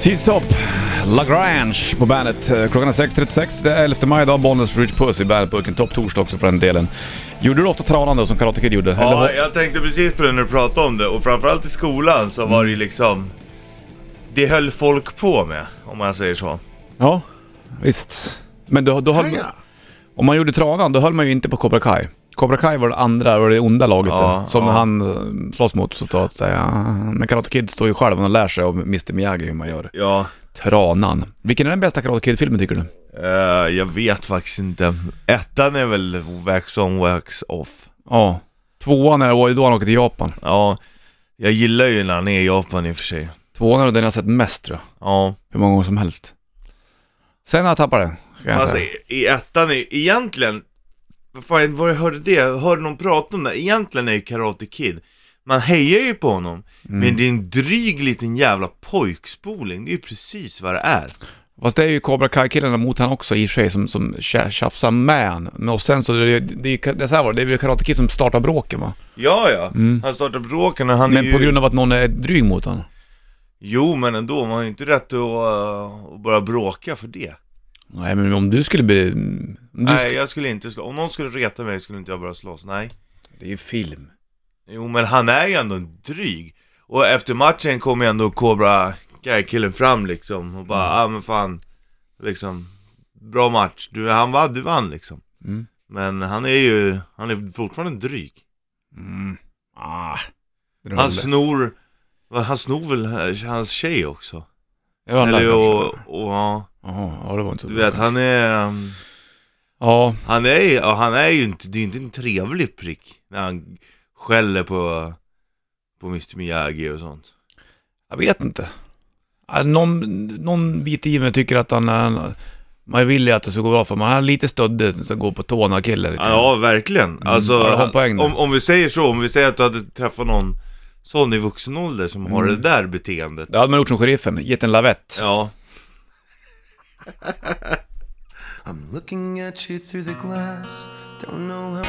Cheese Top, Lagrange på bandet. Eh, Klockan är 6.36, det är 11 maj idag, Bollnäs Rich Puss i bandetburken. Topp torsdag också för den delen. Gjorde du ofta tranan då som Karate Kid gjorde? Eller Ja, vad- jag tänkte precis på det när du pratade om det och framförallt i skolan så var det ju liksom Det höll folk på med, om man säger så. ja, visst. Men då, då höll, om man gjorde tranan, då höll man ju inte på Cobra Kai. Cobra Kai var det andra, var det onda laget Ja, där, som ja. han eh, slåss mot så att säga. Men Karate Kid står ju själv och lär sig av Mr Miyagi hur man gör Ja, tranan. Vilken är den bästa Karate Kid-filmen tycker du? eh, jag vet faktiskt inte. Ettan är väl Wax on, wax off. Ja. Tvåan är oj, då han åker till Japan. Ja, jag gillar ju när han är i Japan i och för sig. Tvåan är den jag sett mest tror jag. Ja, Hur många gånger som helst. Sen har jag tappat den. Kan jag fast säga. i, i ettan är egentligen vad Fan, var jag hörde det? Jag hörde någon prata om det. Egentligen är ju Karate Kid Man hejar ju på honom, Mm. men det är en dryg liten jävla pojkspoling. Det är ju precis vad det är. Fast det är ju Cobra Kai-killarna mot han också i och för sig som, som tja- tjafsar med han. Men och sen så, det, det, det är så här var det, det är väl Karate Kid som startar bråken va? Ja, ja. Han startar bråken och han är Mm. Men ju... på grund av att någon är dryg mot han. Jo, men ändå. Man har ju inte rätt att, uh, att bara bråka för det. Nej men om du skulle bli... mm, Om du, Nej, jag skulle inte slå. Om någon skulle reta mig skulle inte jag bara slåss. Nej. Det är ju film. Jo, men han är ju ändå en dryg. Och efter matchen kommer ju ändå Cobra Kai-killen fram liksom och Mm. bara, ja ah, men fan, liksom, bra match. Du, han vann, du vann liksom. Mm. Men han är ju, han är fortfarande en dryg. Mm. Ah. Det är Han väl- snor, vad, han snor väl eh, hans tjej också? det var en Eller läkare, och, kanske. och ja, Jaha, ja det var inte så du bra. vet han är, um, Ja, han är, ju- ja, han är ju inte, det är inte en trevlig prick när han skäller på, på Mr Miyagi och sånt. jag vet inte. Ja, Någon, någon bit i mig tycker att han är... Man vill ju att det ska gå bra för man Han är lite stöddig, så går på tårna killen lite. Ja, verkligen. Alltså, ja, du har en poäng där. om, om vi säger så, om vi säger att du hade träffat någon sån i vuxen ålder som har Mm. det där beteendet. Det hade man gjort som sheriffen, gett en lavett. Ja. I'm looking at you through the glass. Don't know how.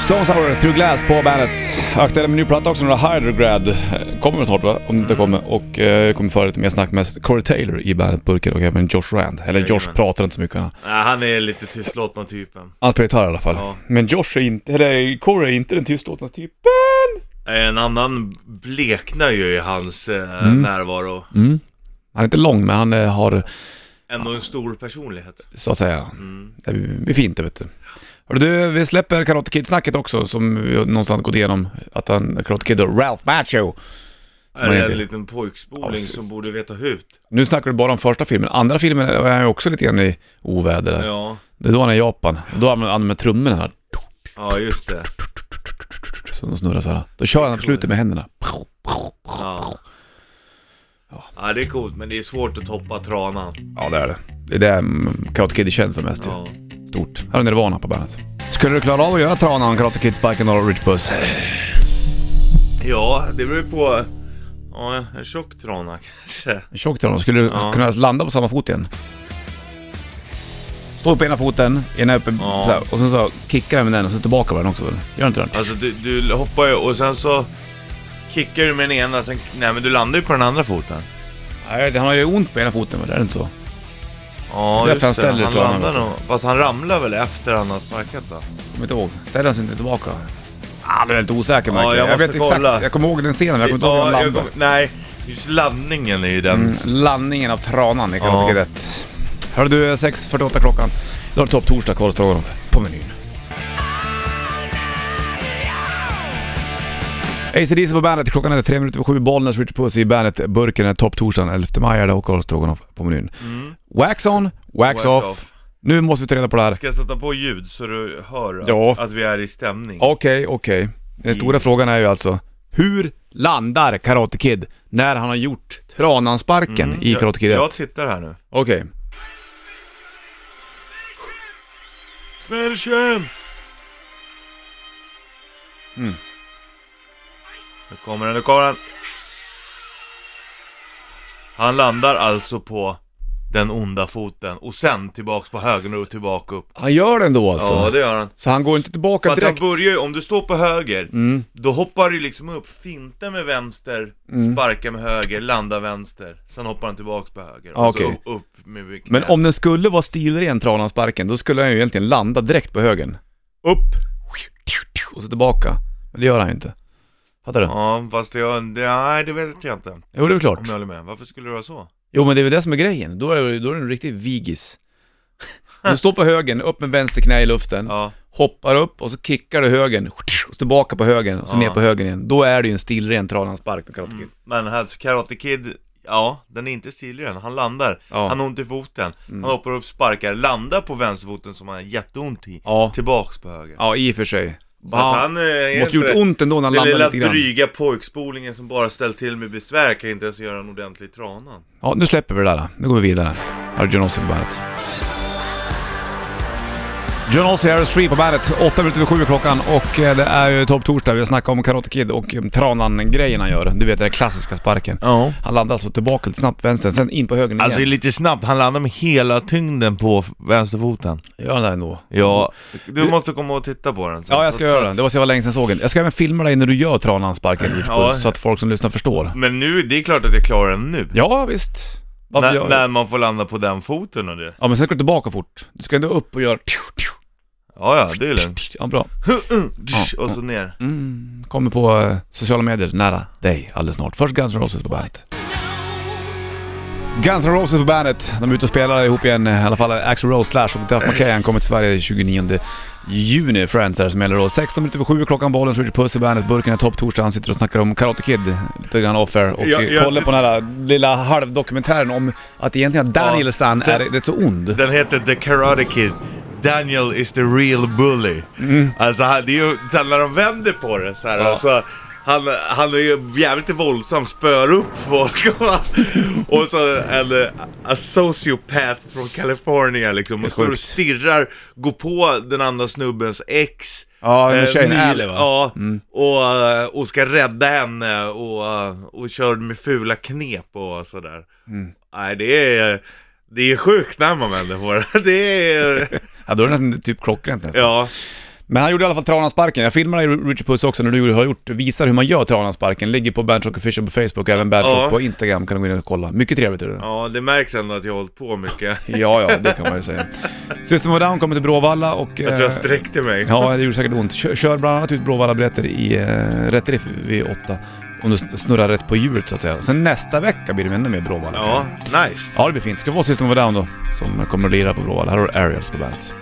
Stones Hour, Through Glass på bandet. Aktuell med ny platta också, några Hydrograd. Eh, Kommer väl snart va? Om det Mm. inte kommer. Och eh, kommer föra lite mer snack med Corey Taylor i bandet-burken och även Josh Rand. Eller Josh Jajamän. pratar inte så mycket. Han Nej, han är lite tystlåtna typen. Han spelar gitarr i alla fall. Ja. Men Josh är inte, eller Corey är inte den tystlåtna typen. En annan bleknar ju i hans eh, Mm. närvaro. Han är inte lång men han eh, har, Ändå en stor personlighet. så att säga, Mm. det blir fint det vet du. Hörru du, vi släpper Karate Kid-snacket också som vi har någonstans gått igenom. Att han, Karate Kid och Ralph Macho. Är det heter. en liten pojkspoling Ja, som borde veta hut? Nu snackar du bara om första filmen, andra filmen är han ju också lite grann i oväder där. Ja, Det är då han är i Japan, och då använder han med trummorna här. ja just det. Så de snurrar så här. Då kör han på slutet med händerna. Ja. ja, det är coolt men det är svårt att toppa tranan. Ja det är det. Det är det mm, Karate Kid är känd för mest ju. Ja. Stort. Här är Nirvana på bandet. Skulle du klara av att göra Tranan, Karate Kid, Spiken och Rich Puss? ja, det beror ju på. Ja, en tjock trana kanske. En tjock Tranan. Skulle du Ja. kunna landa på samma fot igen? Stå upp på ena foten, ena uppe Ja. så här, och sen så kickar jag med den och så tillbaka med den också väl? Gör inte den? Alltså du, du hoppar ju och sen så kickar du med den ena, sen, nej men du landar ju på den andra foten. Nej, han har ju ont på ena foten väl, är det inte så? Ja Det är just därför det, han ställer han ut honom, landar vet du. nog. Fast han ramlar väl efter han har sparkat då? Kommer inte ihåg. Ställer han sig inte tillbaka? Ah, du är lite osäker Ja, Michael. jag måste vet kolla. exakt. Jag kommer ihåg den scenen, men jag kommer inte ihåg hur han jag landade. kom- nej, just landningen är ju den. Mm, Landningen av tranan, det kan Ja. jag tycka är rätt. Hör du, 6.48 klockan. Då är det topp torsdag, korvstroganoff på menyn. ACDC på bandet, klockan är tre minuter över sju, Bollnäs, Richard Puss i bandet, burken är topp torsdagen 11 maj är det och korvstroganoff på menyn. Wax on, wax, Mm. Wax off. off. Nu måste vi ta reda på det här. Ska jag sätta på ljud så du hör att, Ja. att vi är i stämning? Okej, okej. Den Mm. stora frågan är ju alltså, hur landar Karate Kid när han har gjort tranansparken i Karate Kid Mm, jag, 1? jag tittar här nu. Okej. Finish him! Mm. Nu kommer den, nu kommer den. Han landar alltså på den onda foten och sen tillbaks på höger och tillbaka upp. Han gör det ändå alltså? Ja, det gör han. Så han går inte tillbaka För att han direkt? börjar ju, om du står på höger, Mm. då hoppar du liksom upp, fintar med vänster, Mm. sparkar med höger, landar vänster. Sen hoppar han tillbaks på höger. Ah, Och så okej. upp, upp med knät. Men om den skulle vara stilren, sparken, då skulle han ju egentligen landa direkt på högen. Upp, och så tillbaka. Men det gör han ju inte. Fattar du? Ja, fast jag, det, nej det vet jag inte. Om Jo, det är väl klart. jag håller med. Varför skulle det vara så? Jo, men det är väl det som är grejen. Då är, det- då är det en riktig vigis. Du står på högen, upp med vänster knä i luften, Ja, hoppar upp och så kickar du högen, och tillbaka på högen och så Ja. Mm. ner på högen igen. Då är det ju en stilren spark med karate Kid. men här, Karate Kid, ja, den är inte stilren. Han landar, Ja. Mm. han har ont i foten, han hoppar upp, sparkar, landar på vänsterfoten som han har jätteont i, Ja. tillbaks på höger. Ja, i och för sig. Så att han eh, är måste inte- gjort ont ändå när han Den landade lilla lite grann. dryga pojkspolingen som bara ställt till med besvär kan inte ens göra en ordentlig trana. Ja, nu släpper vi det där. Nu går vi vidare. Här är John Ossie på bandet. John Ossie, Harris Free på bandet. Åtta minuter över sju är klockan och eh, det är ju Topp Torsdag. Vi har snackat om Karate Kid och eh, Tranan-grejen han gör. Du vet den där klassiska sparken. Ja. Han landar alltså tillbaka lite snabbt vänster, sen in på höger Alltså igen. lite snabbt, han landar med hela tyngden på f- vänsterfoten. Gör han det ändå? Ja, du måste komma och titta på den. Ja, jag ska göra det. Det var så jag var länge sedan jag såg den. Jag ska även filma dig när du gör Tranan-sparken, Ja. så att folk som lyssnar förstår. Men nu, det är klart att jag klarar den nu. Ja, visst. Varför när, gör- när man får landa på den foten och det. Ja, men sen ska du tillbaka fort. Du ska ändå upp och göra... Ja, ja, det är lugnt. Ja, bra. Och så ner. Mm, kommer på eh, sociala medier nära dig alldeles snart. Först Guns N' Roses på bandet. Guns N' Roses på bandet. De är ute och spelar ihop igen, eh, i alla fall Axl Rose Slash och Duff McKagan kommer till Sverige 29 juni. Friends är det som gäller då. 16 minuter över 7 klockan, bollen, Richard Puss i bandet, burken är topp torsdag. Han sitter och snackar om Karate Kid, lite grann off air och Jag- eh, jag kollar sit- på den här lilla halvdokumentären om att egentligen Danielsson det- är rätt så ond. Den heter The Karate Kid. Daniel is the real bully. Alltså, han- det är ju, sen när de vänder på det så här, alltså, han, han är ju jävligt våldsam, spör upp folk. och så en, eh, a sociopath från California liksom. Och står och sjukt. stirrar, går på den andra snubbens ex. Ja, eh, med tjejen Neil- Ally va? Mm. Ja, och, eh, och ska rädda henne och, eh, och kör med fula knep och sådär. Mm. Nej, det är, det är sjukt när man vänder på det. Det är, Ja, då är det nästan typ klockrent nästan. ja. Men han gjorde i alla fall Tranansparken. Jag filmade dig, Richard Puss också när du har gjort, visar hur man gör Tranansparken. Ligger på Bandrock Official på Facebook och även Bandrock Ja. på Instagram kan du gå in och kolla. Mycket trevligt är det. Ja. ja, det märks ändå att jag har hållit på mycket. ja, det kan man ju säga. System of a Down kommer till Bråvalla och... eh, Jag tror jag sträckte mig. Ja, det gjorde säkert ont. Kör, kör bland annat ut Bråvalla-biljetter i eh, rätt riff vid åtta. Om du sn- snurrar rätt på hjulet så att säga. Och sen nästa vecka blir det ännu mer Bråvalla. Ja, nice. Ja, det blir fint. Ska vi få System of a Down då, som kommer att lira på Bråvalla. Här har du Aerials på bandet.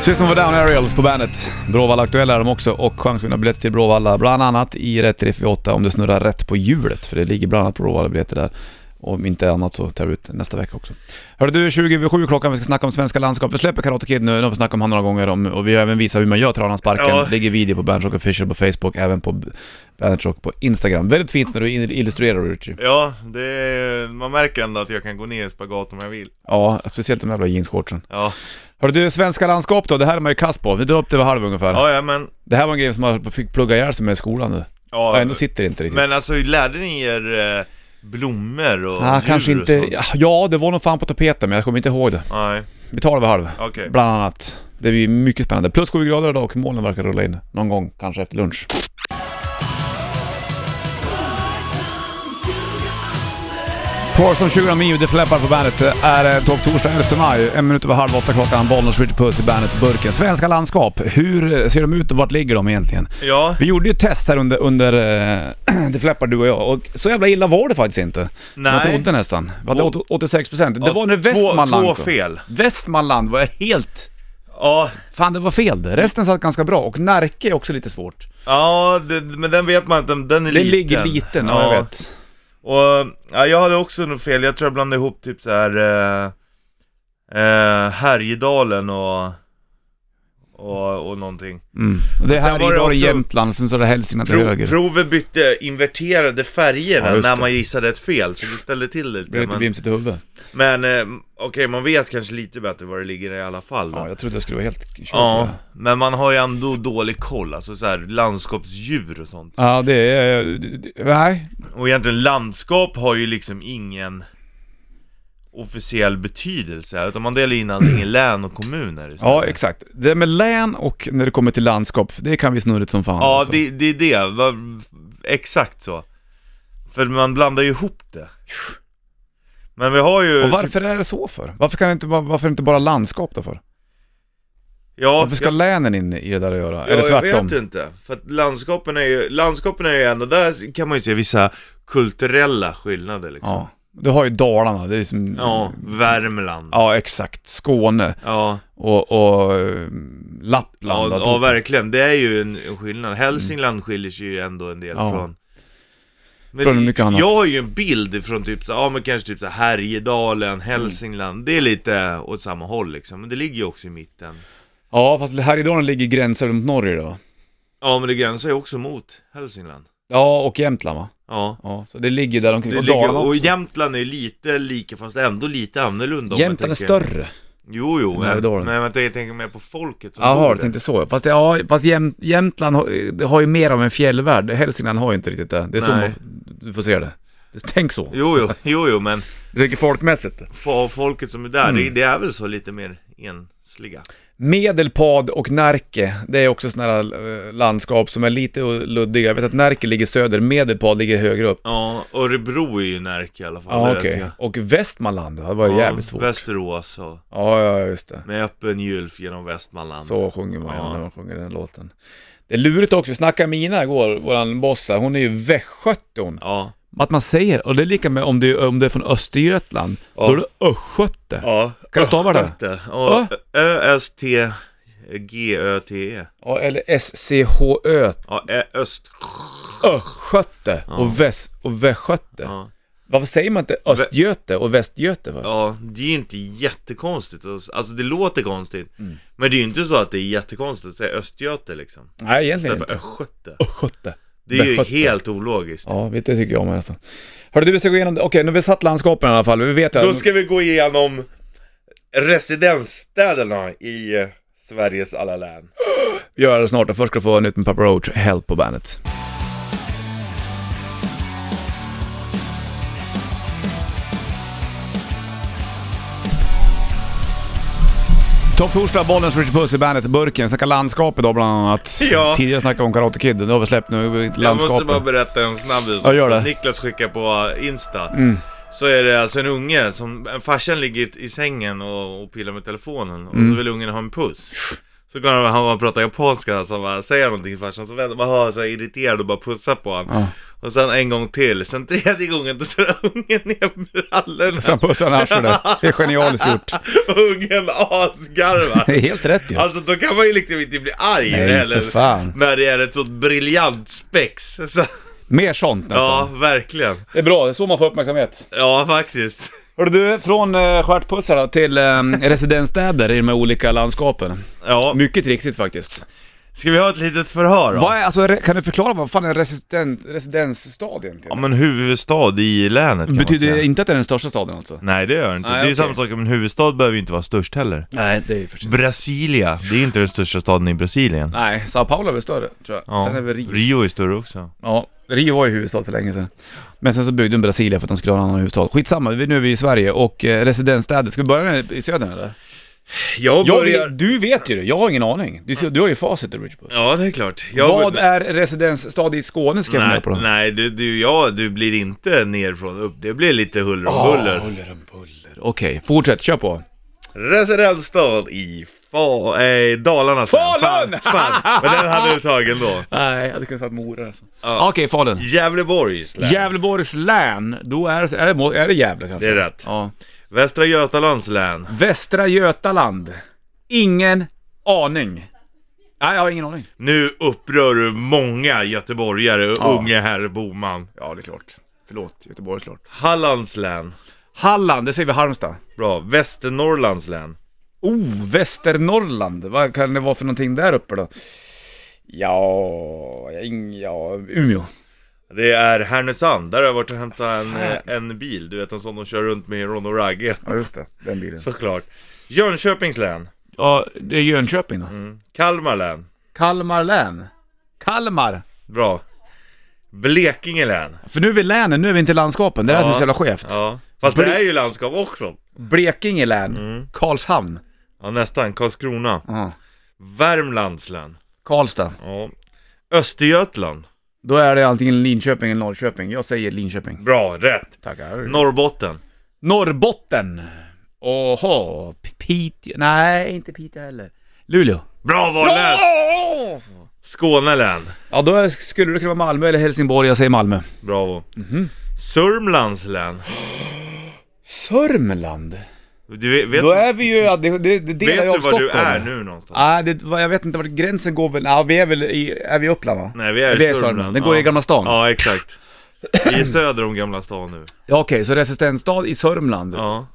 System of a Down Aerials på bandet. Bråvalla aktuella är de också och chans att vinna biljetter till Bråvalla. Bland annat i Rätt Riff 8 om du snurrar rätt på hjulet. För det ligger bland annat på Bråvalla biljetter där. Och om inte annat så tar vi ut nästa vecka också. Hörru du, 20 över 7 klockan, vi ska snacka om svenska landskap. Vi släpper Karate Kid nu, nu har vi snackat om han några gånger om, och vi har även visat hur man gör Tranansparken. Ja. Ligger video på Bandrock Official på Facebook, även på B- Bandrock på Instagram. Väldigt fint när du in- illustrerar Richie. Ja, det är, man märker ändå att jag kan gå ner i spagat om jag vill. Ja, speciellt de jävla jeansshortsen. Ja, Hörru du, svenska landskap då, det här är man ju kass på. Vi drar upp det vid halv ungefär. ja, ja men... Det här var en grej som man fick plugga ihjäl sig med i skolan nu. Ja, Och ändå sitter det inte riktigt. men alltså, lärde ni er eh, blommor och Ah, djur kanske och inte... sånt? Ja, det var nog fan på tapeten men jag kommer inte ihåg det. Nej, Vi tar det vid halv. okej. Bland annat. Det blir mycket spännande. Plus 7 grader idag och molnen verkar rulla in. Någon gång, kanske efter lunch. Pour som 20 Mio, det fläppar på bandet. Det är eh, topp torsdag 11 maj. En minut över halv åtta klockan. Bollnäs skjuter puss i bandet burken. Svenska landskap. Hur eh, ser de ut och vart ligger de egentligen? Ja, Vi gjorde ju ett test här under, under eh, det fläppar du och jag och så jävla illa var det faktiskt inte. Som Nej. Jag trodde nästan. Vi hade Och- åt- 86%. Det Ja, var när två- Västmanland Två kom. fel. Västmanland var jag helt... Ja, Fan det var fel där. Resten satt ganska bra och Närke är också lite svårt. ja det, men den vet man att den, den är Den liten. ligger liten, ja, jag vet. Och, ja, jag hade också något fel, jag tror jag blandade ihop typ så här eh, eh, Härjedalen och, och och, och någonting. Mm. Och Det Och här sen var var det det också- Jämtland, sen så är det Hälsingland till Pro, höger. provet bytte, inverterade färgerna Ja, just när det. man gissade ett fel, så det ställde till det Det blev lite lite. Men, vimsigt i huvudet. men eh, okej, man vet kanske lite bättre var det ligger i alla fall. Då. Ja, jag trodde jag skulle vara helt kört. Ja. Ja, men man har ju ändå dålig koll, alltså så här landskapsdjur och sånt. ja, det är... eh, d- d- Nej. Och egentligen landskap har ju liksom ingen officiell betydelse, här, utan man delar in allting i län och kommuner istället. Ja, exakt. Det med län och när det kommer till landskap, det kan vi snurrigt som fan. Ja, alltså. det, det är det. Va- Exakt så. För man blandar ju ihop det. Men vi har ju... Och varför är det så för? Varför kan det inte, bara- varför inte bara landskap då för? Ja, Varför ska jag- länen in i det där att göra? Ja, Eller jag tvärtom? vet inte. För att landskapen är ju, landskapen är ju ändå, där kan man ju se vissa kulturella skillnader liksom. Ja. Du har ju Dalarna, det är som... Ja, Värmland. Ja, exakt. Skåne Ja, och, och eh, ja, Lappland. ja verkligen. Det är ju en en skillnad. Hälsingland skiljer sig ju ändå en del Ja. från... Men Från mycket annat. Jag har ju en bild från typ så, ja men kanske typ så här Mm. Härjedalen, Hälsingland. Det är lite åt samma håll liksom, men det ligger ju också i mitten. ja, fast Härjedalen ligger gränsen mot Norge då. Ja men det gränsar ju också mot Hälsingland. Ja, och Jämtland va? Ja. Ja, så det ligger där omkring. Det Och ligger, Dalarna och också. Jämtland är ju lite lika fast ändå lite annorlunda om man Jämtland är tänker- större. Jo, jo, Nej, men, det är dåligt. men vänta, jag tänker mer på folket som Jaha, bor du där. tänkte så. Fast, det, ja, fast Jäm, Jämtland har, det har ju mer av en fjällvärld. Hälsingland har ju inte riktigt det. Det är så Nej. man, du får se det. Tänk så. Jo, jo, jo, jo, men Du tänker folkmässigt. fo- folket som är där, det, Mm. det är väl så lite mer ensliga. Medelpad och Närke, det är också sådana här eh, landskap som är lite luddiga. Jag vet att Närke ligger söder, Medelpad ligger högre upp. Ja, Örebro är ju Närke i alla fall. Ja, det okej. vet jag. Och Västmanland, det var Ja, jävligt svårt. Västerås och Ja, ja, just det. med öppen gylf genom Västmanland. Så sjunger man Ja. ja. när man sjunger den låten. Det är lurigt också, vi snackade med Mina igår, våran boss här, hon är ju västgöte hon. Ja. Att man säger, och det är lika med om det, om det är från Östergötland, Ja. då är det östgöte. ja. Kan du stava det? Östgöte. Ja, Ö-S-T-G-Ö-T-E. Ja, eller S-C-H-Ö, E. Ja, Ö- Öst... östgöte och väst och västgöte. Ja. Varför säger man inte östgöte och västgöte? För? ja, det är ju inte jättekonstigt. Alltså det låter konstigt. Mm. Men det är ju inte så att det är jättekonstigt att säga östgöte liksom. Nej, egentligen Istället för inte. östgöte. Östgöte. Det är ju Västgöte. helt ologiskt. Ja, vet det tycker jag om nästan. Hörru du, vi ska gå igenom, okej nu har vi satt landskapen i alla fall, vi vet ju... Då ska vi gå igenom residensstäderna i eh, Sveriges alla län. göra det snart och först ska du få nytt med Papa Roach, Help på bandet. Topp torsdag, Bollnäs, Richard Puss i bandet, Burken, snackar landskap idag bland annat. Ja. Tidigare snackade vi om Karate Kid, nu har vi släppt nu Jag måste landskapet. bara berätta en snabbis Ja, gör som det. Mm. Niklas skickar på Insta. Så är det alltså en unge som, en farsan ligger i sängen och, och pillar med telefonen och Mm. så vill ungen ha en puss. Så går han, han bara pratar japanska, så han bara säger någonting till farsan, så vänder man hör så här irriterad och bara pussar på honom. Ja. Och sen en gång till, sen tredje gången då drar ungen ner brallorna Sen pussar han arslet. Det är genialiskt gjort. och ungen asgarvar. Det är helt rätt ju. Alltså då kan man ju liksom inte bli arg Nej, heller. för fan. När det är ett sånt briljant spex. Så, Mer sånt nästan. ja, verkligen. Det är bra, det är så man får uppmärksamhet. Ja, faktiskt. Hörru du, från eh, stjärtpussar då till eh, residensstäder i de här olika landskapen. Ja. Mycket trixigt faktiskt. Ska vi ha ett litet förhör då? Vad är, alltså, re- kan du förklara vad fan är en resident, residensstad Ja egentligen? men huvudstad i länet kan Betyder man det säga. inte att det är den största staden alltså? Nej det gör det inte. Nej, det är ju okej. samma sak, men huvudstad behöver ju inte vara störst heller. Nej, det är ju för sig. Brasilia, det är inte den största staden i Brasilien. Nej, Sao Paulo är väl större, tror jag. Sen är väl Rio. Rio är större också. Ja, Rio var ju huvudstad för länge sedan. Men sen så byggde de Brasilia för att de skulle ha en annan huvudstad. Skitsamma, vi- nu är vi i Sverige och eh, residensstäder. Ska vi börja i- i södern eller? Jag Jag börjar... vet, du vet ju det, jag har ingen aning. Du, du har ju facit Richard Puss. Ja det är klart. Jag Vad börjar- är residensstad i Skåne ska jag fundera Nej, på då. nej du, du, ja, du blir inte nerifrån och upp. Det blir lite huller om Ah, buller. Huller om buller. Okej, fortsätt, kör på. Residensstad i Fa- eh, Dalarna sen. Falun! Fan, fan. Men den hade du tagit då. Nej, jag hade kunnat sagt Mora alltså. Ja. Okej, Falun. Gävleborgs län. Gävleborgs län, då är, det- är, det, Mo- är det Gävle kanske? Det är rätt. Ja. Västra Götalands län. Västra Götaland. Ingen aning. Nej, jag har ingen aning. Nu upprör du många göteborgare och Ja. unge herr Boman. Ja, det är klart. Förlåt, Göteborg är klart. Hallands län. Halland, det säger vi Halmstad. Bra. Västernorrlands län. Oh, Västernorrland. Vad kan det vara för någonting där uppe då? Ja, ing- ja Umeå. Det är Härnösand, där har jag varit och hämtat en, Fan. eh, en bil, du vet en sån de kör runt med i Ron och Ragge Ja, just det. Den bilen. Såklart Jönköpings län Ja, det är Jönköping då. Mm. Kalmar län Kalmar län. Kalmar. Bra Blekinge län För nu är vi länen, nu är vi inte i landskapen. Det där Ja. är så jävla skevt. Ja, fast Ble- det är ju landskap också Blekinge län. Mm. Karlshamn. Ja nästan, Karlskrona Aha. Värmlands län Karlstad. Ja Östergötland Då är det antingen Linköping eller Norrköping. Jag säger Linköping. Bra, rätt Tackar. Norrbotten Norrbotten. Oha. P- Piteå. Nej, inte Piteå heller. Luleå. Bra val län Skåne län Ja, då är- skulle det kunna vara Malmö eller Helsingborg. Jag säger Malmö. Bravo Mhm. Sörmlands län Sörmland. Du vet, vet, Då är vi ju... ja, Det, det, det delar ju vet av du var Stockholm. du är nu någonstans? Nej, Ah, det, vad- jag vet inte vart gränsen går väl. Ja, vi är väl i... Är vi i Uppland va? Nej vi är Det i är Sörmland. Sörmland. Den går i Gamla stan. Ja exakt. Vi är söder om Gamla stan nu. Ja, okej, så resistensstad i Sörmland. Ja.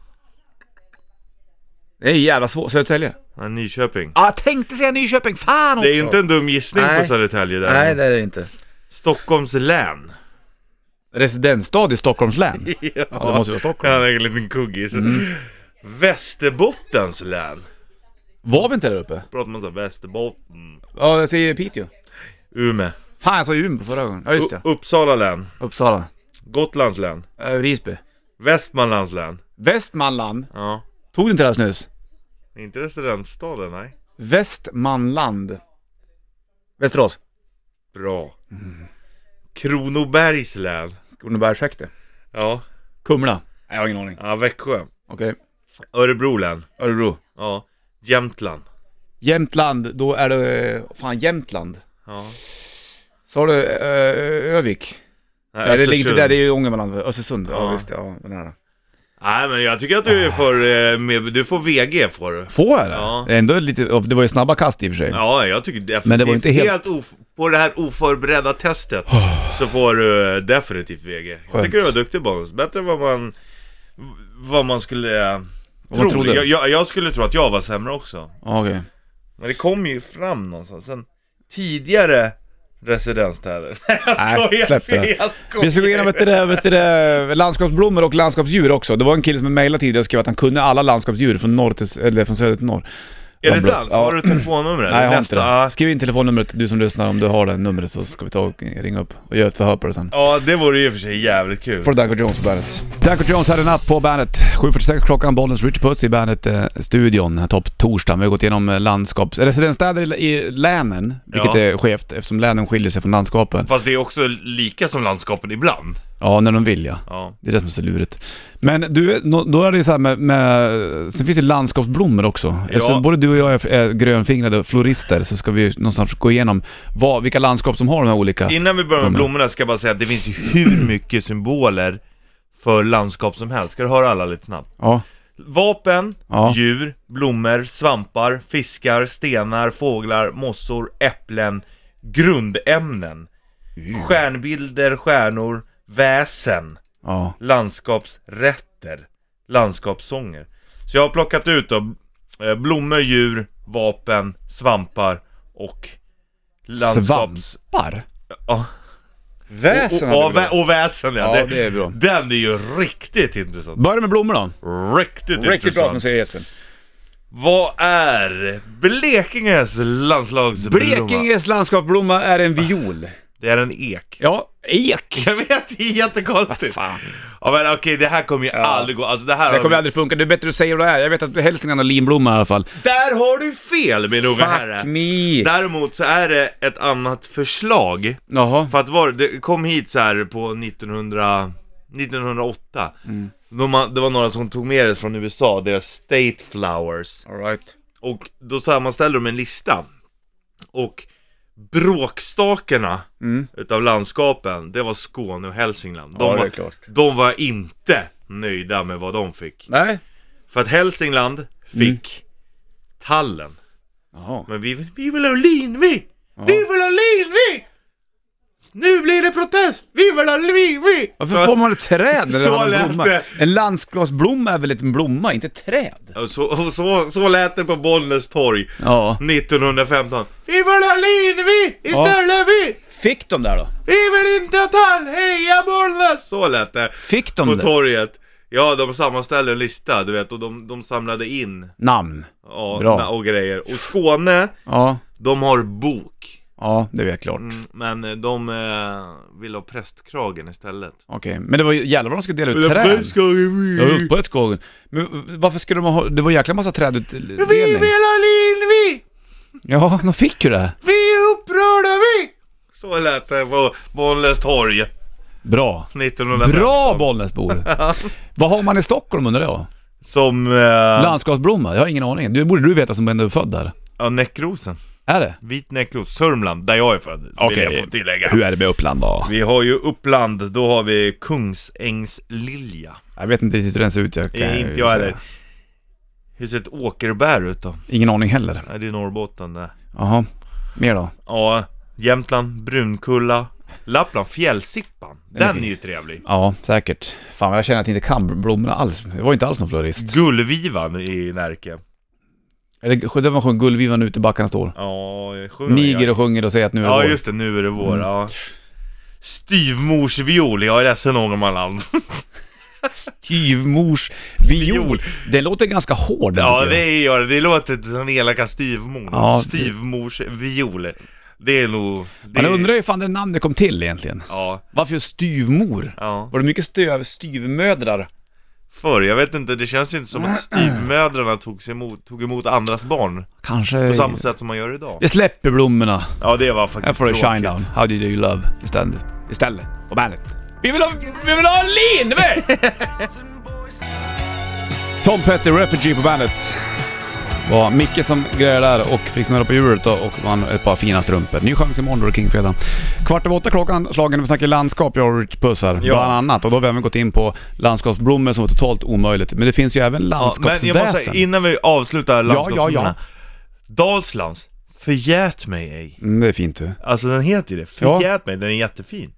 Det är jävla svårt. Södertälje. ja Nyköping. Ja, ah, tänkte säga Nyköping. Fan också! Det är ju inte en dum gissning Nej. på Södertälje där. Nej, det är det inte. Stockholms län. Residensstad i Stockholms län. Ja, det måste vara Stockholm. Han är en liten kuggis. Mm. Västerbottens län. Var vi inte där uppe? Pratar man så här, Västerbotten. Ja, jag säger Piteå. Umeå. Fan, jag sa Umeå förra gången. Ja, just U- det. Uppsala län. Uppsala. Gotlands län. Eh, Visby. Västmanlands län. Västmanland. Ja. Tog du inte det här snus? Inte residensstaden, nej. Västmanland. Västerås. Bra. Kronobergs län. Kronobergshäkte. Ja. Kumla. Nej, jag har ingen aning. ja, Växjö. Okej. Örebro län. Örebro. Ja. Jämtland. Jämtland, då är det... eh, Fan, Jämtland. Ja. Sa du eh, Övik? Nej, Nej, det ligger Östersund. inte där. Det är ju Ångermanland. Östersund. Ja, Ja. visst. Ja, den här. Nej men jag tycker att Ah. du får, eh, med, du får VG får du. Får jag det? Ja. Ändå lite... Det var ju snabba kast i och för sig. Ja, jag tycker definitivt. Men det var inte helt- Ah. of, på det här oförberedda testet så får du eh, definitivt VG. Jag Skönt. tycker du var duktig Bonus. Bättre än vad man, vad man skulle eh, Vad tro. man trodde. Jag, jag, jag skulle tro att jag var sämre också. Ja, Okej. Men det kom ju fram någonstans. Sen tidigare residensstäder. Nej Nej, jag skojar, jag släpp det. skojar, jag Vi ska gå igenom vet du skojar. det, vet du det, landskapsblommor och landskapsdjur också. Det var en kille som mejlade tidigare och skrev att han kunde alla landskapsdjur från, norr till, eller från söder till norr. Är det Vad bra. sant? Ja. Har du telefonnumret? Nej, jag har inte Nästa. det. Skriv in telefonnumret, du som lyssnar, om du har det numret så ska vi ta och ringa upp och göra ett förhör på det sen. Ja, det vore ju i och för sig jävligt kul. Får Danko Jones på bandet. Danko Jones hade natt på bandet. 7.46 klockan, Bollnäs Rich Puss i bandet-studion. topp torsdagen. Vi har gått igenom eh, landskaps... Residensstäder i, i länen, vilket Ja. är skevt eftersom länen skiljer sig från landskapen. Fast det är också lika som landskapen ibland. Ja, när de vill ja. Ja. Det är det som är så lurigt. Men du, nå- då är det ju så här med, med... Sen finns det landskapsblommor också. Eftersom både du och jag är, är grönfingrade florister så ska vi ju någonstans gå igenom vad, vilka landskap som har de här olika. Innan vi börjar med Blommor. blommorna ska jag bara säga att det finns ju hur mycket symboler för landskap som helst. Ska du höra alla lite snabbt? Ja. Vapen, Ja. djur, blommor, svampar, fiskar, stenar, fåglar, mossor, äpplen, grundämnen, stjärnbilder, stjärnor, väsen, Ja. landskapsrätter, landskapssånger. Så jag har plockat ut då eh, blommor, djur, vapen, svampar och landskaps... Svampar? Ja. Väsen hade och, och, vi då. vä- och väsen ja. Ja, det är bra. Den är ju riktigt intressant. Börja med blommor då. Riktigt, intressant. säger Jesper. Vad är Blekinges landslagsblomma? Blekinges landskapsblomma är en viol. Det är en ek. Ja, ek. Jag vet, det är jättekonstigt. Fan. Ja men okej, det här kommer ju aldrig gå. Alltså det här Det har vi- kommer aldrig funka. Det är bättre att säga vad det är. Jag vet att Hälsingland har linblomma i alla fall. Där har du fel min unge herre. Fuck me. Däremot så är det ett annat förslag. Jaha. För att var, det kom hit så här på 1900, 1908. Mm. De, ha- det var några som tog med det från USA, deras state flowers. Alright. Och då sammanställde de en lista. Och bråkstakarna utav landskapen, det var Skåne och Hälsingland. Mm. De, Ja, det är var, klart. de var inte nöjda med vad de fick. Nej. För att Hälsingland Mm. fick tallen. Jaha. Men vi, vi vill ha linvi! Vi vill ha linvi! Nu blir det protest! Viva la vi! Varför får man ett träd när det Så har en lät blomma? det. En landskapsblomma är väl en blomma, inte ett träd? Så, så, så lät det på Bollnäs torg Ja. 1915. Viva la vi! Istället vi! Fick de där då? Vi vill inte att han hejar Bollnäs! Så lät det. Fick de På det? torget. Ja, de sammanställde en lista, du vet, och de, de samlade in Namn? ja, Bra. na- och grejer. Och Skåne, Ja, de har bok. ja det är väl klart. Mm, Men eh, de eh, vill ha prästkragen istället. Okej, men det var ju jävlar vad de skulle dela ut träd. Ja, Mm. upp på ett skogen. Men varför skulle de ha, det var en jäkla massa Vi trädutdelning. vill ha Lindvi! Ja, de fick ju det. Vi är upprörda vi! Så lät det på Bollnäs torg Bra. 1915. Bra Bollnäsbor! Vad har man i Stockholm undrar jag? Som... Eh, Landskapsblomma? Jag har ingen aning. Du borde du veta som ändå är född där. ja, Näckrosen. Är det? Vit Näckros. Sörmland, där jag är född. så vill Okej. jag få tillägga. Hur är det med Uppland då? Vi har ju Uppland, då har vi Kungsängslilja. Jag vet inte riktigt hur den ser ut. Jag kan Eh, ju inte säga. jag heller. Hur ser ett åkerbär ut då? Ingen aning heller. Nej, det är Norrbotten det. Jaha. Mer då? Ja, Jämtland, Brunkulla, Lappland, Fjällsippan. Den är Den fin. är ju trevlig. Ja, säkert. Fan, jag känner att jag inte kan blommorna alls. Jag var inte alls någon florist. Gullvivan i Närke. Eller där man sjöng Gullvivan ute i backarna står. Ja, jag sjunger Niger jag. och Mm. sjunger och säger att nu är Ja, det vår. just det. Nu är det vår. Ja. Styvmorsviol. Jag är ledsen Ångermanland. Styvmors viol. Viol. Den låter ganska hård. den Ja, tycker jag. det gör det. Det låter till den elaka styvmor. Ja, det- Styvmorsviol. Det är nog... Det... Man undrar ju fan det namn det kom till egentligen. Ja, Varför just styvmor? ja. Var det mycket stöv, styvmödrar? Förr, jag vet inte, det känns inte som att styvmödrarna tog, sig emot, tog emot andras barn Kanske... på samma sätt som man gör idag. Vi släpper blommorna. Ja, det var Här faktiskt får du tråkigt. shine down. How do you love? Istället. Istället. På bandet. Vi vill ha... Vi vill ha en Lindberg! Tom Petty, Refugee på bandet. var Micke som grejade där och fick snurra på hjulet då och vann ett par fina strumpor. Ny chans imorgon då, det är Kingfredag. Kvart över åtta klockan slagen när vi snackar landskap, jag och Rich Puss här. Ja. Bland annat. Och då har vi även gått in på landskapsblommor som var totalt omöjligt. Men det finns ju även Ja, men jag måste säga, landskapsväsen. innan vi avslutar ja, ja. landskapsfilmerna. Dalslands, Förgät mig ej. mm, det är fint du. Alltså den heter ju det, Förgät mig, den är jättefin.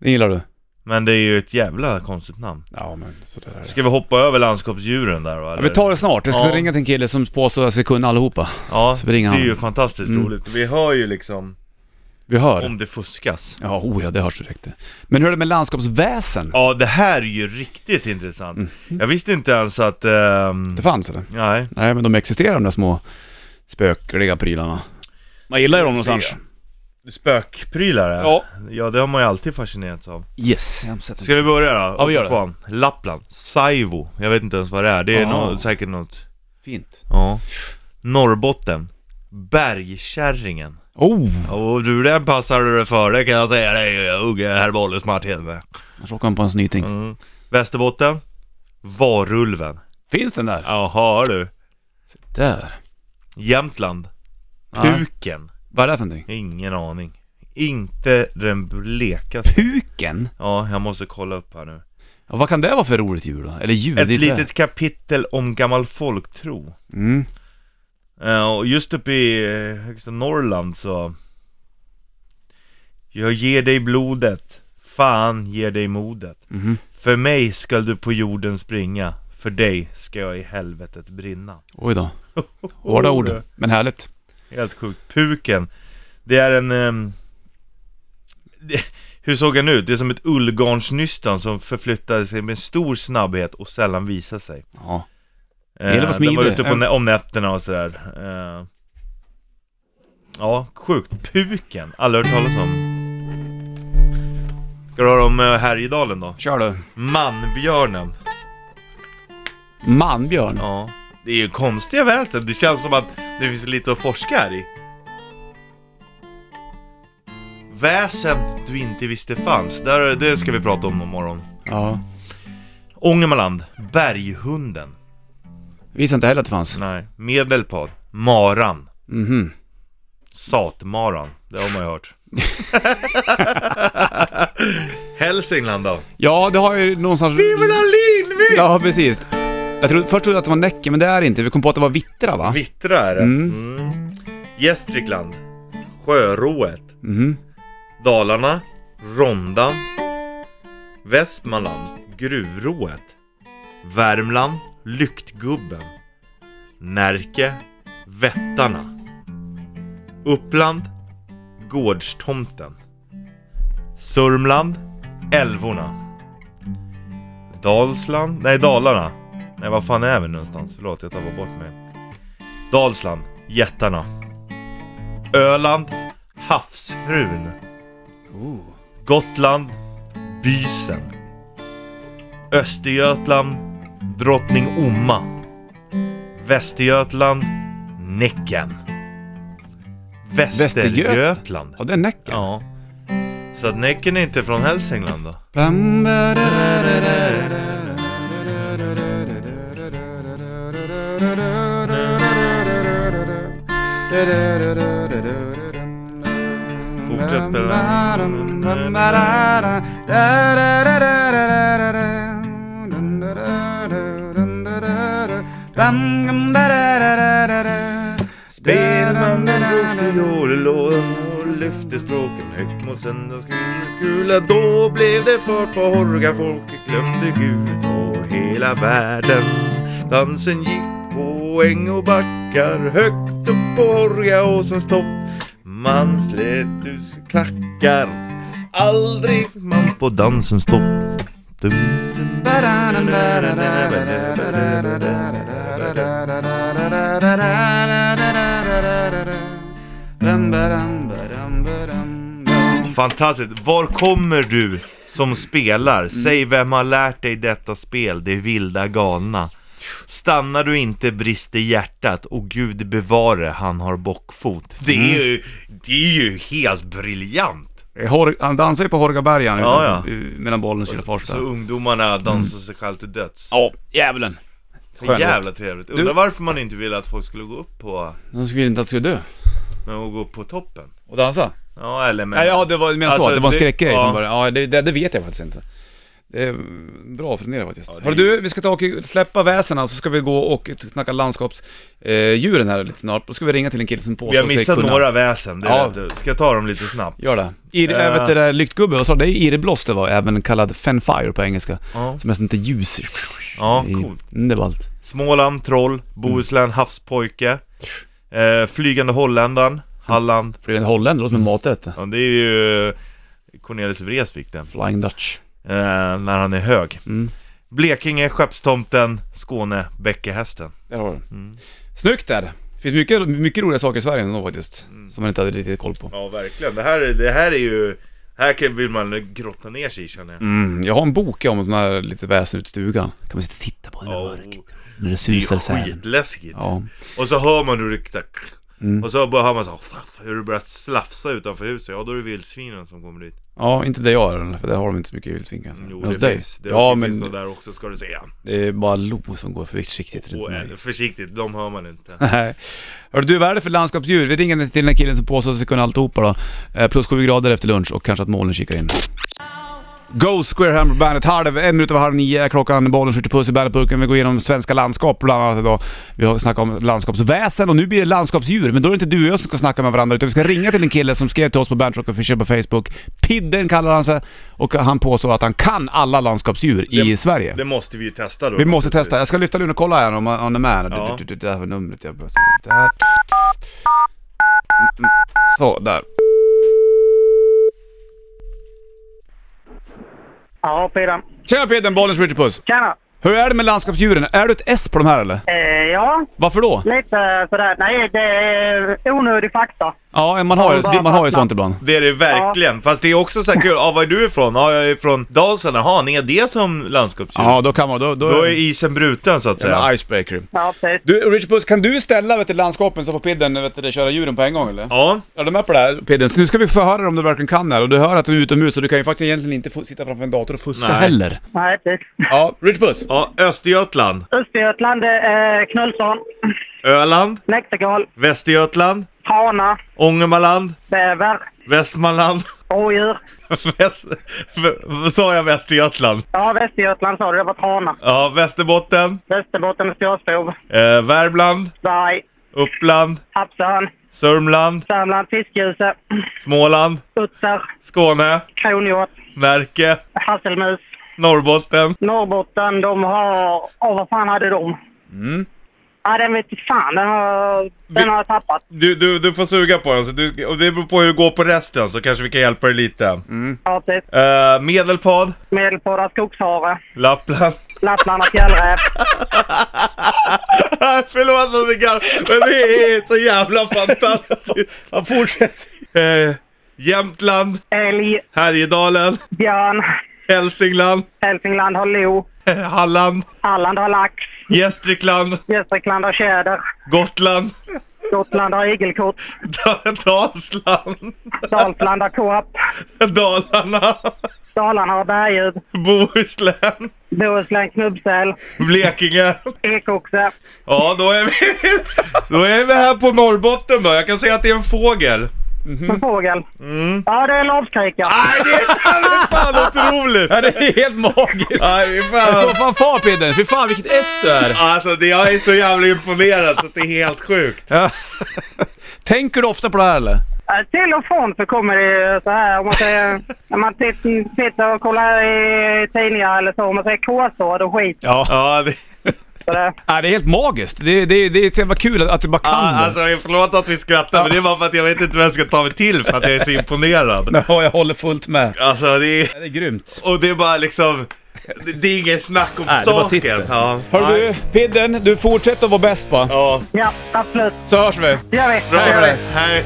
Det gillar du? Men det är ju ett jävla konstigt namn. Ja men sådär är det. Ska vi hoppa över landskapsdjuren där va? Ja, vi tar det snart. Jag ska Ja. ringa till en kille som påstår sig kunna allihopa. Ja, så vi det ringer är han. ju fantastiskt Mm. roligt. Vi hör ju liksom Vi hör. om det fuskas. Ja, oh ja, det hörs direkt. Men hur är det med landskapsväsen? Ja, det här är ju riktigt intressant. Mm. Jag visste inte ens att... ehm, Det fanns eller? Nej. Nej, men de existerar de där små spökliga prylarna. Man gillar ju dem någonstans. Spökprylar? Ja. ja, det har man ju alltid fascinerats av. Yes. Jag har sett Ska vi börja då? Ja, vi gör det. Uppifrån. Lappland. Saivo. Jag vet inte ens vad det är. Det är Ah. nå- säkert något... Fint. Ja. Norrbotten. Bergkärringen. Oh! Och du, den passar du före kan jag säga dig, Ugge Herbolus Martin. Jag råkade han på en snyting. Mm. Västerbotten. Varulven. Finns den där? Jaha du. Där. Jämtland. Ja. Puken. Vad är det för någonting? Ingen aning. Inte den blekaste. Puken? Ja, jag måste kolla upp här nu. Ja, vad kan det vara för roligt djur då? Eller djur? Ett det är litet kapitel om gammal folktro. det. Mm. Eh, och just uppe i eh, högsta Norrland så... Jag ger dig blodet, fan ger dig modet. Mhm. För mig skall du på jorden springa, för dig ska jag i helvetet brinna. Oj då. Hårda Oh. ord. Men härligt. Helt sjukt. Puken, det är en... ehm, det, hur såg han ut? Det är som ett ullgarnsnystan som förflyttar sig med stor snabbhet och sällan visar sig. Ja. Eh, gäller att vara Den var smidig. ute på nä- om nätterna och sådär. Eh, ja, sjukt. Puken. Aldrig hört talas om. Ska du höra om eh, Härjedalen då? Kör du. Manbjörnen. Manbjörn. Ja. Det är ju konstiga väsen. Det känns som att det finns lite att forska här i. Väsen du inte visste fanns. Där, det ska vi prata om imorgon. Ja. Ångermanland. Berghunden. Visste inte heller att det fanns. Nej. Medelpad. Maran. Mhm. Satmaran, det har man ju hört. Hälsingland då? Ja, det har ju någonstans... Lindvik! Ja, precis. Jag trodde, först trodde jag att det var Näcke, men det är det inte. Vi kom på att det var Vittra, va? Vittra är det. Mm. Mm. Gästrikland. Sjörået. Mhm. Dalarna. Ronda, Västmanland, Gruvrået, Värmland, Lyktgubben, Närke, Vättarna, Uppland, Gårdstomten, Sörmland, Älvorna, Dalsland, nej Dalarna, nej vad fan är vi någonstans? Förlåt, jag tappade bort mig. Dalsland, Jättarna, Öland, Havsfrun, Ooh. Gotland, Bysen. Östergötland, Drottning Omma. Västergötland, Näcken. Västergötland. Ja, det är Näcken. Ja. Så att Näcken är inte från Hälsingland då? Fortsätt spela Spelman drog fiollådan och lyfte stråken högt mot söndagsgula Då blev det fart på horga, folket glömde Gud och hela världen Dansen gick på äng och backar högt upp på horga och sen stopp Man slet ut klackar Aldrig man på dansen stopp Dum, dum, Eh, Fantastiskt! Var kommer du som Mm. spelar? Säg vem har lärt dig detta spel, det vilda galna? Stannar du inte brister hjärtat och Gud bevare han har bockfot. Det Mm. är ju, det är ju helt briljant! Hor- Han dansar ju på Horgabergen Ja, utan- mellan eh, bollen och Kilafors Så där. ungdomarna dansar sig själv till Mm. döds. Ja, djävulen. Så skön jävla trevligt. Undrar varför man inte ville att folk skulle gå upp på, De skulle inte att du skulle dö. men att gå upp på toppen. Och dansa? Ja, eller men... Nej, ja, det var, men Alltså, så, det var en det- skräckgrej ja. från början. Ja, det, det, det vet jag faktiskt inte. Det är bra att fundera faktiskt. det är- Hörru du, vi ska ta och släppa väsena så ska vi gå och snacka landskapsdjuren här lite snart. Då ska vi ringa till en kille som påstår Vi har missat kunna- några väsen, det Ja. vet du. Ska jag ta dem lite snabbt? Gör det. Ir, Eh. äh, vet du, det där lyktgubbe, vad sa du? Det är irrblås det var, även kallad fenfire på engelska. Ja, Som är sånt där ljus. ja i- coolt. Mm, det var allt. Småland, Mm. Troll, Bohuslän, Havspojke, eh, Flygande Holländaren, Halland. Flygande holländare, låter som en maträtt. det. Ja, det är ju Cornelis Vreeswijk den, Flying Dutch. eh, när han är hög. Mm. Blekinge, Skeppstomten, Skåne, Bäckehästen. Där har du den. Mm. Snyggt där. Det finns mycket, mycket roliga saker i Sverige ändå faktiskt. Mm. Som man inte hade riktigt koll på. Ja, verkligen. Det här, det här är ju... Här kan- vill man grotta ner sig i, känner jag. Mm, jag har en bok om sån här lite väsen ut i stugan. Kan man sitta och titta på när det är Ja, mörkt. När det Det är ju susar isär. skitläskigt. Ja. Och så hör man hur det klickar. Mm. Och så bara hör man så här, hur det börjar slafsa utanför huset. Ja, då är det vildsvinen som kommer dit. ja, inte där jag är för där har de inte så mycket vildsvin kanske. Jo, Men det hos dig? finns. Det, ja, det men finns något där också, ska du säga. det är bara lo som går försiktigt runt Och, eh, mig. försiktigt, de hör man inte. Nej. Hörru du, vad är det för landskapsdjur? Vi ringer till den här killen som påstår sig kunna alltihopa då. Eh, Plus sju grader efter lunch och kanske att molnen kikar in. Ghost Square Hammer Bandet, halv, en minut över halv nio är klockan, bollen skjuter puss i bandetburken. Vi går igenom svenska landskap bland annat idag. Vi har snackat om landskapsväsen och nu blir det landskapsdjur. Men då är det inte du och jag som ska snacka med varandra utan vi ska ringa till en kille som skrev till oss på Bandit Rock Official på Facebook. Pidden kallar han sig och han påstår att han kan alla landskapsdjur i Det- Sverige. Det måste vi ju testa då. Vi måste testa, jag ska lyfta luren och kolla här om han är med. Ja. Det där var numret jag behövde. Där. Så, där. Ja, Piran. Tjena Pidden, bollens Richard Puss. Tjena! Hur är det med landskapsdjuren? Är du ett S på de här eller? Eh, ja, Varför då? lite sådär. Nej, det är onödig fakta. Ja, man har, ju, bara man har ju fastnat. sånt ibland. Det är det verkligen, fast det är också så här kul, ja var är du ifrån? Ja jag är från Dalsland, jaha ni är det som landskapsdjur? Ja, då kan man. Då, då, Då är isen bruten så att det säga. icebreaker. Ja, precis. Du, Richard Puss, kan du ställa vet du, landskapen så får Pidden vet du, köra djuren på en gång eller? Ja, Är du med på det här Pidden? Så nu ska vi få höra om du verkligen kan det här. Och du hör att du är utomhus så du kan ju faktiskt egentligen inte få, sitta framför en dator och fuska Nej. heller. Nej, precis. Ja, Richard Puss. ja Östergötland, Östergötland, det är Knullsson, Öland, Näktergal, Västergötland, Hana, Ångermanland, bäver, Västmanland, rådjur. Väst... vad sa jag Västergötland? Ja, Västergötland sa du. Det var Hana. Ja, Västerbotten, Västerbotten, Sjösbov, eh, Värmland, Varg, Uppland, Harpsön, Sörmland, Sörmland, Fiskgjuse, Småland, Utter, Skåne, Kronhjort, Närke, Hasselmus, Norrbotten. Norrbotten. De har... Åh, vad fan hade de? Mm. Ja, den vet inte fan. Den har, den har jag tappat. Du, du, du får suga på den, så du, och det beror på hur det går på resten så kanske vi kan hjälpa dig lite. Mm. Ja, typ. Eh, Medelpad, Medelpåda, Skogshare, Lappland. Lapplanda, Fjällräv. Förlåt att jag men det är så jävla fantastiskt. Ja, fortsätt. Eh, Jämtland, Älg, Härjedalen, björn, Hälsingland, Hälsingland har lo, eh, Halland, Halland har lax, Gästrikland, Gästrikland har tjäder, Gotland, Gotland har igelkott, Dalsland, Dalsland har kåp, Dalarna, Dalarna har berguv, Bohuslän, Bohuslän knubbsäl, Blekinge. ekoxe, Ja, då är, vi, då är vi här på Norrbotten då. Jag kan säga att det är en fågel. en fågel. Ja, det är lavskrika. Nej, Mm. det är fan- fan otroligt! Ja, det är helt magiskt. Nej, det är Du fan. får fan fart Peder. Fy fan vilket S du är. Alltså, det, jag är så jävla imponerad så att det är helt sjukt. Ja. Tänker du ofta på det här eller? Eh, Till och från så kommer det så här, om man säger, när man tit- sitter och kollar i tidningar eller så, om man säger kåsår och skit. Ja. Ja, det, Så det, ja Äh, det är helt magiskt. Det, det, det är så jävla kul att, att du bara kan ja, det. alltså förlåt att vi skrattar men det är bara för att jag vet inte vad jag ska ta mig till för att jag är så imponerad. Ja, jag håller fullt med. Alltså, det är, Ja, Det är grymt. och det är bara liksom, det, det är inget snack om Nej, det bara saken. sitter. ja, Hör du, Nej. Pidden, du fortsätter att vara bäst bara. Ja, ja, absolut. Så hörs vi. Det gör vi. bra. Det gör vi. Hej.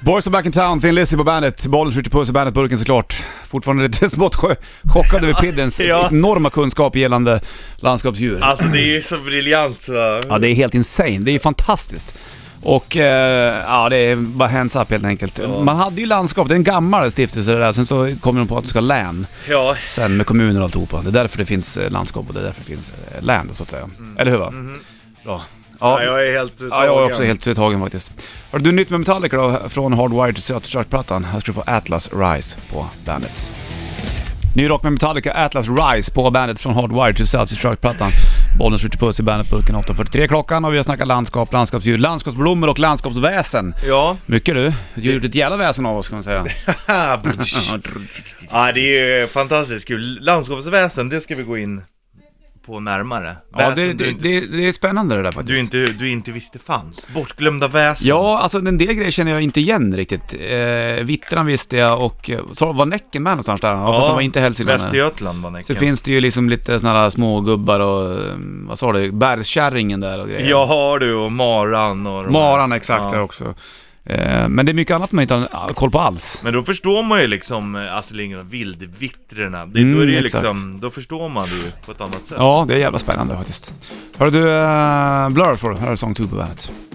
Boys are back in town, Thin Lizzy på bandet, Bollen skjuter puss i bandet-burken såklart. Fortfarande lite smått cho- chockad över Piddens Ja. enorma kunskap gällande landskapsdjur. Alltså det är ju så briljant så. Ja, det är helt insane. Det är fantastiskt. Och eh, ja, det är bara hands up helt enkelt. Man hade ju landskap, det är en gammal stiftelse det där. Sen så kommer de på att du ska ha län Ja, sen med kommuner och alltihopa. Det är därför det finns eh, landskap och det är därför det finns eh, län så att säga. Eller hur va? Bra. Mm. Mm-hmm. ja, jag är helt Ja, jag är också helt tagen faktiskt. Har du nytt med Metallica då? Från Hardwired till Sötershark-plattan. Här ska du få Atlas Rise på bandet. Ny rock med Metallica, Atlas Rise på bandet från Hardwired till Sötershark-plattan. Bollen skjuter puss i bandetburken 8.43 klockan och vi har snackat landskap, landskapsdjur, landskapsblommor och landskapsväsen. Ja. Mycket du. Du har gjort ett jävla väsen av oss kan man säga. Ah, ja, det är ju fantastiskt kul. Landskapsväsen, det ska vi gå in på närmare. Ja, Väsen det, du, det, inte, det, det är spännande det där faktiskt. du, inte, du inte visste fanns. Bortglömda väsen. Ja, alltså en del grejer känner jag inte igen riktigt. Eh, Vittran visste jag och eh, så var Näcken med någonstans där? Ja, fast han var inte Hälsingland. med. Västergötland var Så Näcken. finns det ju liksom lite såna här smågubbar och, eh, vad sa du, bergskärringen där och grejer. Ja, har du och Maran och de Maran här. exakt Ja. där också. Eh, Men det är mycket annat man inte har koll på alls. Men då förstår man ju liksom eh, Astrid Lindgren och Vildvittrorna. Det, Mm, då, är det ju exakt. liksom, då förstår man det ju på ett annat sätt. Ja, det är jävla spännande faktiskt. Hör du, eh, Blur får du. Här är Song 2 på bandet.